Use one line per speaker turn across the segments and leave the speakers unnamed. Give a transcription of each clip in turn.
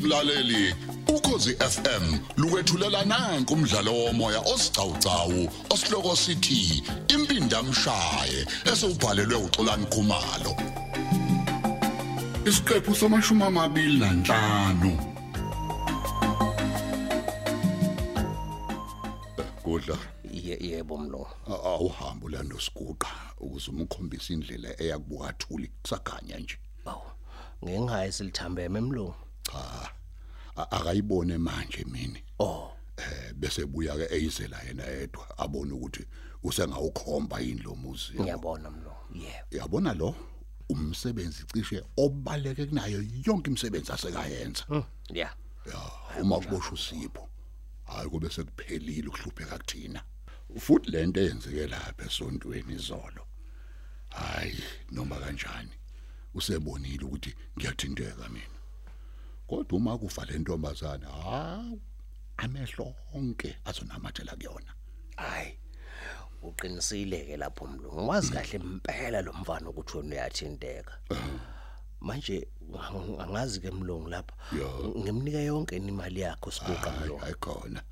mlaleli ukhosi FM lukwethulela nanku umdlalo womoya osiqhawqhawo osihloko sithi impindi amshaye esubhalelwe uXolani Khumalo isiqephu somashumi amabili nanhlanu kodla
Ye- yebo mlo
awuhambo lando siguqa ukuze umkhombisa indlela eyakubukathuli kusaganya nje
awu ngengaye silithambeme mlo
cha a- akayibone manje mina
oh
eh bese buya ke eyizela yena yedwa abone ukuthi usengawukhomba yini lo muzi
ngiyabona mlo yebo
yabona lo umsebenzi cishe obaleke kunayo yonke imisebenzi asekayenza
yeah
ya uma kuboshwa usipho hayi kube sekuphelile ukuhlupheka kuthina futhi lento eyenzeke lapha esontweni izolo hayi noma kanjani usebonile ukuthi ngiyathinteka mina kodwa uma kufa le ntombazana hawu amehlo onke azonamathela kuyona
hayi uqinisile ke lapho mlo ngiwazi kahle impela lo mfana ukuthi wena uyathinteka manje ang- angazi ke mlungu lapha
Yeah.
ngimnike yonke imali yakho sibuqa
hayi
mlo
ayikhona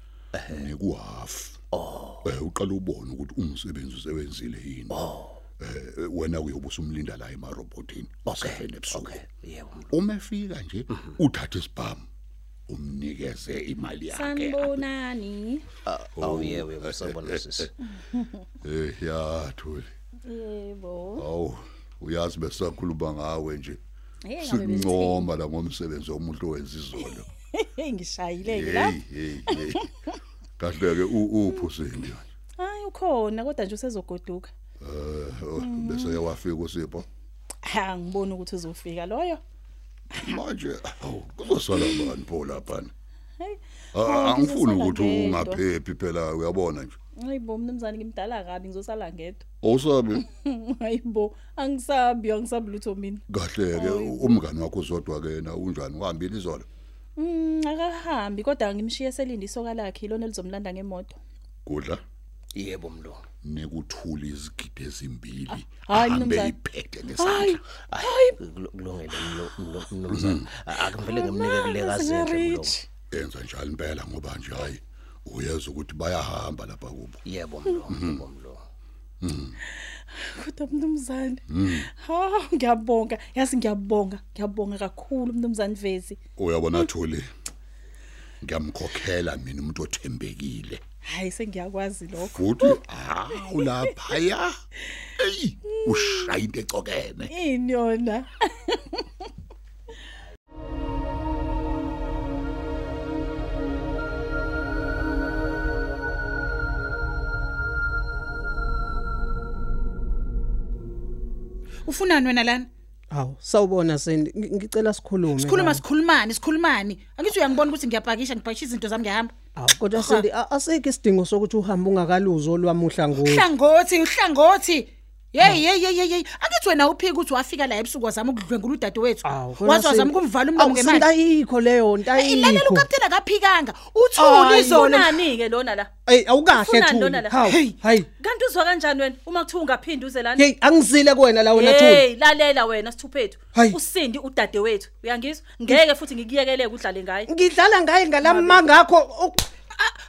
nikuhafu oh eh uqala ubone ukuthi umsebenzi usebenzile yini oh eh wena uyobusa umlinda la emarobotini wasefene ebusuku
yebo mlo
uma efika nje uthathe isibhamu umnikeze imali yakhe
sanibonani
awu yebo yebo sabona sisi
eh ya thuli
yebo
awu uyazi besakhuluma ngawe nje
hey ngabe bese
sikuncoma la ngomsebenzi womuntu owenza izolo
hey ngishayileke la
hey hey hey kahle ke uphusini
hayi ukhona kodwa nje usezogoduka
eh oh,
Mm.
bese ke wafika usipho
ha ngibona ukuthi uzofika loyo
manje awu, kuzosala bani pho lapha
hey oh,
Ah, angifuni
ngizosala
ukuthi
ngedwa.
ungaphephi phela uyabona nje
hayibo mnumzane ngimdala kabi ngizosala ngedwa
awusabi
hayibo angisabi angisabi lutho mina
kahle ke umngani wakho uzodwa ke yena unjani uhambile izolo
mm akahambi kodwa ngimshiye selinde isoka lakhe ilona elizomlanda ngemoto
kudla
yebo mlo
nekuthula izigidi ezimbili
Ah, hayi,
ahambe
mnumzane.
iphethe
hayi
ngesandla
hayi
Kul- kulungele mlo mlo mnumzana akumvele ngimnike kuleka zethu mlo
singarich
enza njalo impela ngoba nje hayi uyeza ukuthi bayahamba lapha kubo
yebo mlo yebo mlo
kodwa mnumzane ha ngiyabonga yazi ngiyabonga ngiyabonga kakhulu mnumzane Vezi
uyabona thuli ngiyamkhokhela mina umuntu othembekile
hayi sengiyakwazi lokho
futhi hawu lapha ya eyi ushaya into ecokeme
ini yona
ufunani wena lana
Hawu, sawubona Sendi, ngi- ngicela sikhulume.
sikhuluma
la.
sikhulumani sikhulumani angithi uyangibona ukuthi ngiyapakisha ngipakisha izinto zami ngiyahamba
Hawu, kodwa Sendi a- asikho isidingo sokuthi uhambe ungakaluzi olwamuhla
Eh.
ngoku.
hlangothi uhlangothi yeyi yeyi yeyi yeyi angithi wena uphike ukuthi wafika la ebusuku wazama ukudlwengula udadewethu
Ah,
wazama ukumvala umlomo ngemali Eh,
Awusindayikho leyo nto
ilalela
ayikho.
ukapteni akaphikanga uthule izolo
Unani ke lona la?
Ey, awukahle
Ufunani
Thuli.
lona la?
Hawu, hayi.
Kanti uzwa kanjani wena uma kuthi ungaphindi uze lana?
Hey, angizile kuwena la wena Thuli.
Hey, lalela wena sithuphethu.
Hayi.
Usindi udade wethu, uyangizwa? Ngeke futhi ngikuyekele ukudlale ngaye.
Ngidlala ngaye ngalamma ngakho.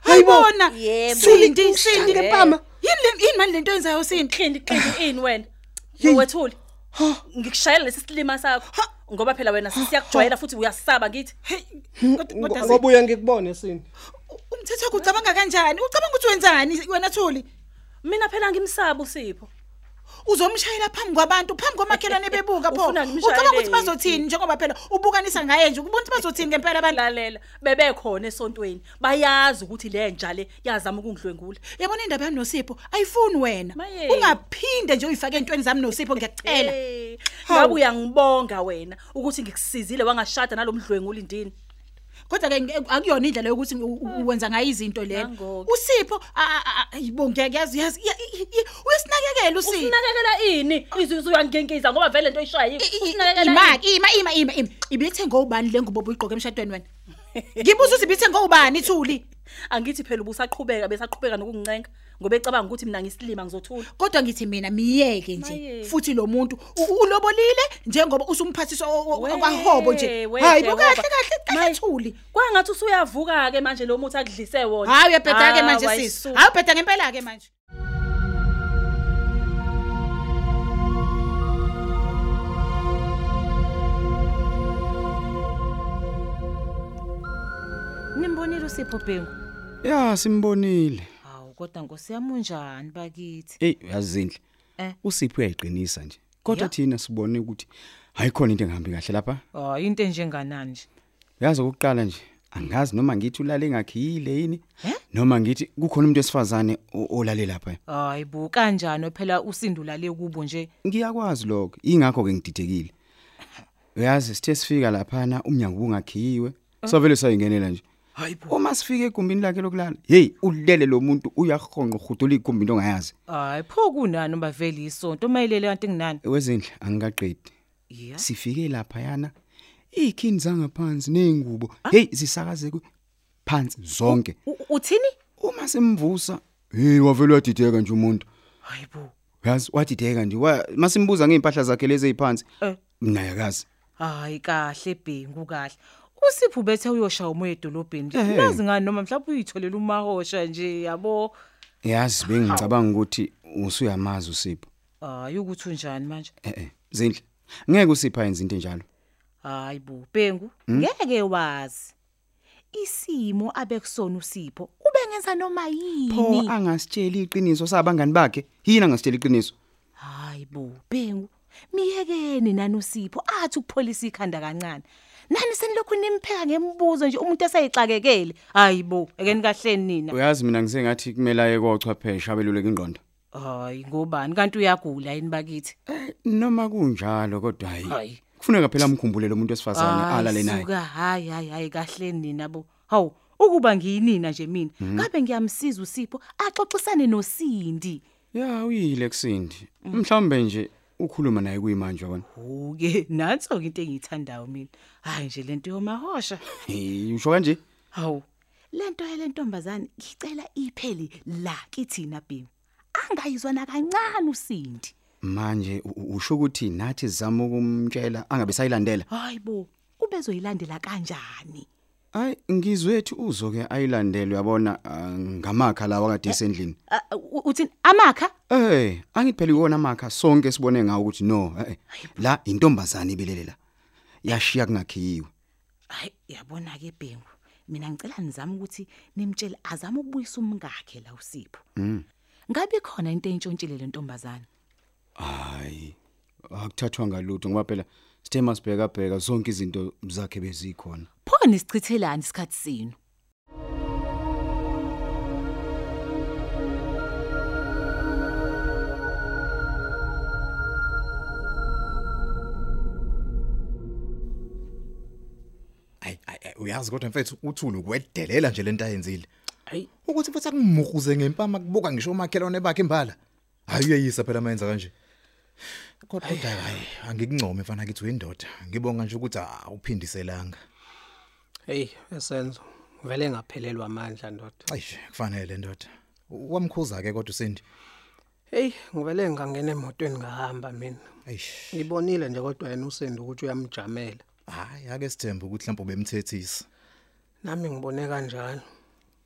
hayibona
Yebo.
sindi
Sindi
sindi
ngepama.
yini le- yini mani lento yenzayo sindi
Qindi
Ah.
qindi ini wena. Wethuli. Ngikushayela lesi silima sakho. Ngoba phela wena sisiyakujwayela futhi uyasaba ngithi.
Hey, kodwa- kodwa Sindi,
Ngobuya ngikubone Sendi.
umthetho wakho ucabanga kanjani ucabanga ukuthi wenzani wena thuli
Mina phela ngimsaba uSipho.
uzomshayela phambi kwabantu phambi kwamakhelwane bebuka pho
Ufuna ngimshayele
ucabanga
yini?
ukuthi bazothini njengoba phela ubukanisa ngaye nje ukubona ukuthi bazothini ngempela abantu
Lalela, bebekhona esontweni. Bayazi ukuthi le nja le yazama ukungidlwengula.
yabona indaba yami nosipho ayifuni wena
Maye.
ungaphinde nje uyifake entweni zami nosipho ngiyakucela
Eh,
Hawu.
ngabe uyangibonga wena ukuthi ngikusizile wangashada nalomdlwenguli ndini.
kodwa-ke nge- akuyona indlela yokuthi u- u- wenza ngayo izinto leyo
Ah. Nangoku.
usipho yibo ngiyakuyazi uyazi iya- i- i- uyasinakekela usipho
usinakekela ini izizo uyanginkiza ngoba vele into ishayile
I- i-
usinakekela
ima
ini?
ima ima ima ima ibithengwe ubani le ngubo obuyigqoke emshadweni wena ngibuza ukuthi ibithengwe ubani ithuli
angithi phela ubusaqhubeka besaqhubeka nokungincenga ngoba ecabanga ukuthi mina ngisilima ngizothula
kodwa ngithi mina miyeke nje
Maye.
futhi lo muntu u- ulobolile njengoba usumphathiswa o- o-
We,
kwahobo nje
we
hayi
Jehova.
bokahle kahle kahle thuli
kwangathi usuyavuka ke manje lo muthi akudlise wona
hayi uyabhedha ke manje
Hawu,
sisi
ayisuka.
hayi ubhedha ngempela ke manje
Nimbonile uSipho Bhengu.
Ya simbonile.
Hawu kodwa nkosiyami unjani bakithi?
Ey uyazinhle.
Eh.
Usipho uyayiqinisa nje. Kodwa
Ya.
thina sibone ukuthi hayikhona into engahambi kahle lapha.
Ah into enjenganani nje.
Uyazi ukuqala nje angazi noma ngithi ulale ngakhile yini
Eh?
noma ngithi kukhona umuntu wesifazane o- olale lapha.
Hayi bu kanjani phela usindulale kubo nje.
Ngiyakwazi lokho, ingakho ke ngididekile. Uyazi sithe sifika lapha na umnyango ungakhiwe.
Oh.
Savele sayingenela nje. Hayibo. Uma sifika egumbini lakhe lokulala, hey ulele lo muntu uyahonqa ugudula igumbini ongayazi.
Hayi pho kunani uma vele isonto mayilele kanti kunani?
Wezindle angikaqedi.
Yeah.
sifike lapha yana ikhini zangaphansi nezingubo hey zisakaze ku- phansi zonke
U- Uthini?
uma simvusa hey wavele wadideka nje umuntu
Hayi bu.
yazi wadideka nje Wa- masimbuza ngeimpahla zakhe lezi eziphansi
Eh.
mina yakazi
Hayi kahle Bhengu kahle. Usipho bethe uyoshaya umoya edolobheni.
Eh.
Uyazi ngani noma mhlawumbe uyitholela umahosha nje yabo.
yazi bengicabanga ukuthi usuyamazi usipho
Hayi ukuthi unjani manje?
eh eh zindle ngeke usipha yenza into enjalo
Hayi bo Bhengu
Hmm?
ngeke wazi isimo abekusona uSipho ubengenza noma
pho
yini
angasitshela iqiniso sabangani bakhe yini angasitshela iqiniso
Hayi bo Bhengu miyekene nani uSipho athi ukupholisa ikhanda kancane nani senilokhu nimpheka ngembuzo nje umuntu esayixakekele hayi bo eke nikahleni nina
uyazi mina ngisengathi kumele aye kochwepheshe abeluleke ingqondo
hayi ngobani kanti uyagula yini bakithi
noma kunjalo kodwa hayi
Hayi.
kufuneka phela umkhumbule lo muntu wesifazane alale naye
suka hayi hayi hayi kahleni nina bo hawu ukuba ngiyinina nje mina
Hmm?
ngabe ngiyamsiza uSipho axoxisane noSindi
ya uyile kusindi mhlawumbe nje ukhuluma naye kuyimanje yabona
Uke nanso ke into engiyithandayo mina. Hayi nje lento yomahosha.
Eh, usho kanje
Hawu. Lento yale ntombazane ngicela ipheli la kithi na Bhengu. Angayizwa na kancane usindi.
manje u- u- usho ukuthi nathi sizama ukumtshela angabe sayilandela
Hayibo, ubezoyilandela kanjani?
hayi ngizwethu uzoke ayilandele uyabona ah, ngamakha lawa kade esendlini
Ah, u- Uthini amakha?
eh angithi phela iwona amakha sonke sibone ngawo ukuthi no eh, eh, la intombazane ibelelela yashiya kungakhiyiwe
Hayi yabona ke Bhengu. Mina ngicela nizame ukuthi nimtshele azame ukubuyisa umngakhe la uSipho. Mhm. Ngabe khona into entshontshile le ntombazane?
hayi akuthathwa ngalutho ngoba phela sithe masibheka bheka zonke izinto zakhe bezikhona
Pho nisichithelani isikhathi sinu?
Ay ay ay, uyazi kodwa mfethu uthule ukwedelela nje lento ayenzile.
Hayi.
Ukuthi mfethu akumukuze ngempama kubuka ngisho umakhelwane bakhe imbala. Hayi uyayisa phela mayenza kanje. Kodwa kodwa hayi angikuncome mfana kithi uyindoda. Ngibonga nje ukuthi awuphindiselanga.
Hey, esenzo. Uvele ngaphelelwa amandla ndoda.
Ayish kufanele ndoda. Wamkhuza ke kodwa usindi.
Hey, ngivele ngangena emotweni ngahamba mina.
Ayish.
Ngibonile nje kodwa yena usendo ukuthi uyamjamela.
Hayi ake sithembe ukuthi mhlawumbe bemthethisa.
Nami ngibone kanjalo.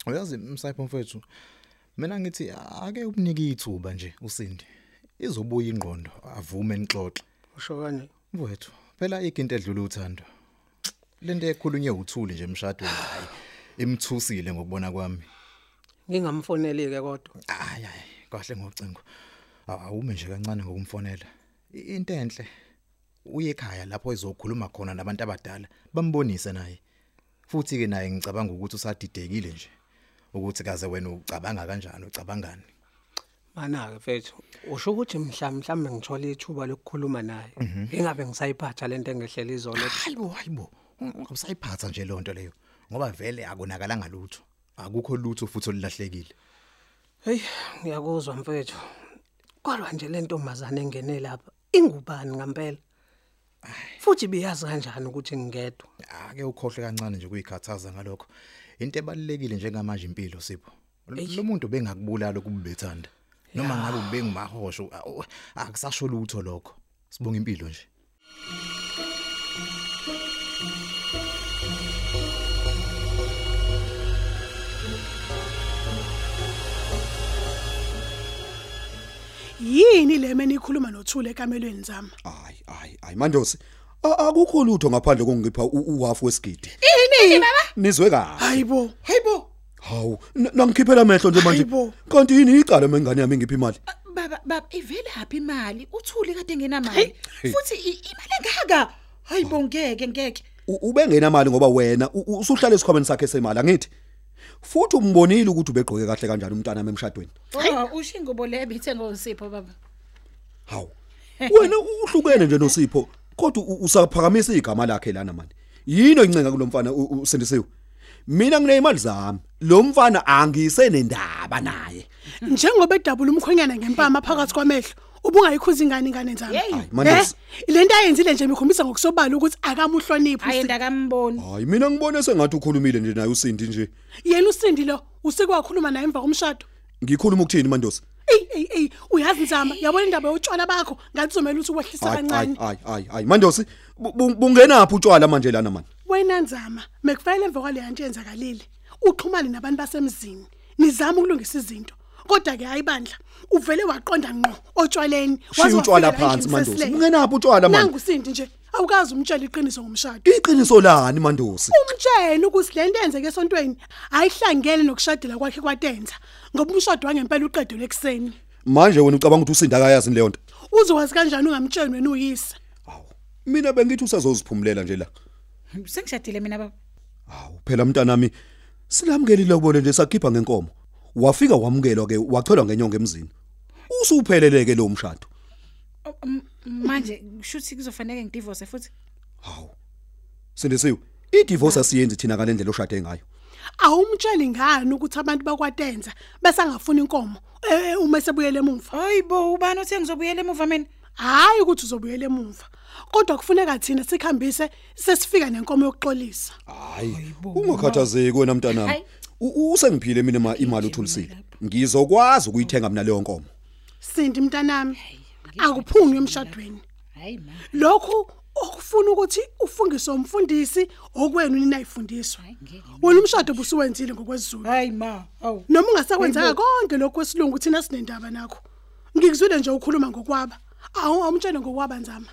Uyazi msayipho mfethu. Mina ngithi ake ubunike ithuba nje usindi. Izobuya ingqondo avume enixoxe.
Usho kanje.
Mfowethu, phela iginto edlula uthando. Lento ekhulunywe uthuli nje emshadweni hayi imthusile ngokubona kwami.
Ngingamfoneli ke kodwa.
Hayi hayi, kahle ngocingo. Awume nje kancane ngokumfonela. I- Into enhle. Uye ekhaya lapho ezokhuluma khona nabantu abadala, bambonise naye. Futhi ke naye ngicabanga ukuthi usadidekile nje. Ukuthi kaze wena ucabanga kanjani, ucabangani?
Mana ke mfethu, usho ukuthi mhla mhlambe ngithola ithuba lokukhuluma naye. Ingabe ngisayiphatha lento engehlela izolo.
Hayibo, hayibo. Ungasayiphatha nje lonto leyo. Ngoba vele akonakalanga lutho. Akukho lutho futhi olilahlekile.
Hey, ngiyakuzwa mfethu. Kodwa nje le ntombazane engene lapha ingubani ngempela? Futhi biyazi kanjani ukuthi ngingedwa?
ake ukhohle kancane nje kuyikhathaza ngalokho into ebalekile njengamanje impilo sipho lo muntu bengakubulala ukubethanda noma ngabe ubengumahosho awu, akusasho lutho lokho sibonga impilo nje
yini le meni ikhuluma nothule ekamelweni zami
hayi hayi hayi mandosi a- akukho lutho ngaphandle kokungipha uhafu wesigidi
ini
nizwe kahle
hayibo hayibo
hawu n- nangikhiphela amehlo nje manje kanti yini icala mengane yami ngiphi imali
baba baba ivele happy imali uthuli kade ngenamali futhi i- imali engaka hayibo ngeke ngeke
U- ube ngenamali ngoba wena u- u- usuhlala esikhwameni sakhe semali angithi futhi umbonile ukuthi ubegqoke kahle kanjani umntana nami emshadweni
Oh, usho ingubo le ebithengo Sipho baba
hawu wena uhlukene nje noSipho kodwa u- usaphakamisa igama lakhe lana manje yini oyincenga kulomfana u- usindisiwe mina nginemali zami lo mfana angisenendaba naye
njengoba edabula umkhwenyana ngempama phakathi kwamehlo ubungayikhuza ingane ingane nzami
Ayi, Mandosi.
Eh, le nto ayenzile nje mikhombisa ngokusobala ukuthi akamuhloniphi
ayenda akamboni
hayi mina ngibone sengathi ukhulumile nje naye usindi nje
yena usindi lo usike wakhuluma naye emva komshado
ngikhuluma ukuthini mandosi
eyi eyi eyi uyazi nzama yabona indaba yotshwala bakho ngathi uzomele ukuthi ukwehlisa
hayi hayi
kancane
hayi hayi hayi mandosi bu- bu- bungenaphi utshwala manje lana manje
wena nzama mekufanele emva kwaleya nto yenzakalile uxhumane nabantu basemzini nizame ukulungisa izinto kodwa-ke hayi bandla uvele waqonda ngqo otshwaleni waze
Shiya utshwala
wafikela
phansi,
endlini
Mandosi.
sesilele.
Bungenaphi utshwala, man.
nangusindi nje awukazi umtshela iqiniso ngomshado
iqiniso lani mandosi
umtshele ukuthi le nto enzeke esontweni ayihlangene nokushadela kwakhe kwatenza ngoba umshado wangempela uqedelwe ekuseni
manje wena ucabanga ukuthi usinda akayazi leyo nto
uzowazi kanjani ungamtsheli wena uyise
mina bengithi usazoziphumulela nje la
Oh. sengishadile mina baba
phela mntanami silamukeli lobole nje sakhipha ngenkomo wafika wamukelwa ke wacholwa ngenyonge emzini usupheleleke lo mshado
Oh, m- manje kushuthi kuzofanele ngidivorce futhi
sindisiwe idivorce asiyenzi thina kalendlela oshade ngayo
awumtsheli ngani ukuthi abantu bakwatenza bese angafuna inkomo eh, uma sebuyele emuva
hayibo ubani othe ngizobuyela emuva mina
hayi ukuthi uzobuyela emuva kodwa kufuneka thina sikhambise sesifika nenkomo yokuxolisa
hayi ungakhathazeki wena mntanami U- usengiphile mina ma imali uthulisile ngizokwazi ukuyithenga mina leyo nkomo
sindi mntanami akuphunywe emshadweni
hayi ma
lokhu okufuna ukuthi ufungise umfundisi okwenu nina ifundiswa wena umshado busuwenzile ngokwesizulu
hayi ma awu
noma ungasekwenzeka
Hayibo.
konke lokho kwesilungu thina sinendaba nakho ngikuzwile nje ukhuluma ngokwaba awu awumtshene ngokwaba nzama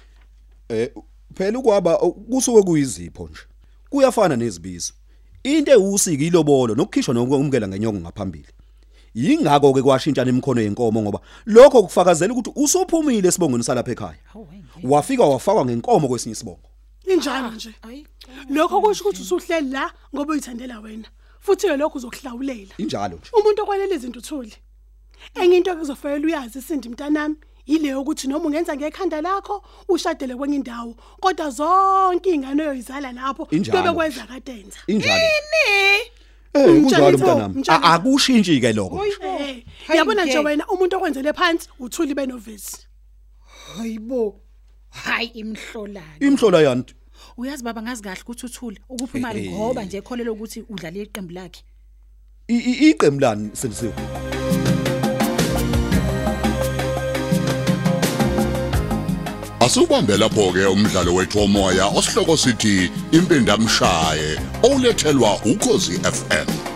eh phela ukwaba uh, kusuke kuyizipho nje kuyafana nezibizo into ewusika ilobolo nokukhishwa nokumukela ngenyongo ngaphambili yingako ke kwashintsha nemkhono yenkomo ngoba lokho kufakazela ukuthi usuphumile esibongweni salapha ekhaya wafika wafakwa ngenkomo kwesinye isibongo
injalo nje lokho kusho ukuthi usuhleli la ngoba uyithandela wena futhi ke lokho uzokuhlawulela
injalo nje
umuntu okwanele izinto uthuli enye into ekuzofanele uyazi isindi mntanami yile ukuthi noma ungenza ngekhanda lakho ushadele kwenye indawo kodwa zonke ingane oyoyizala lapho
Injalo
bebe
nje.
kwenza kadenza
injalo
ini
eh kunjalo
Mtshanitho,
mntanami A-
Mtshanitho.
akushintshi ke lokho
Eh,
Hayi
yabona nje
ngeke.
wena umuntu okwenzele phansi uthuli benovisi
hayibo hayi imhlolana
imhlola yani
uyazi baba ngazi kahle ukuthi uthule ukuphi
Hey,
imali
hey.
ngoba nje ekholelwe ukuthi udlale iqembu lakhe
i- i- iqembu lani sendisiwe
Asubambe lapho ke umdlalo wethu womoya osihloko sithi impindamshaye olethelwa ukozi FM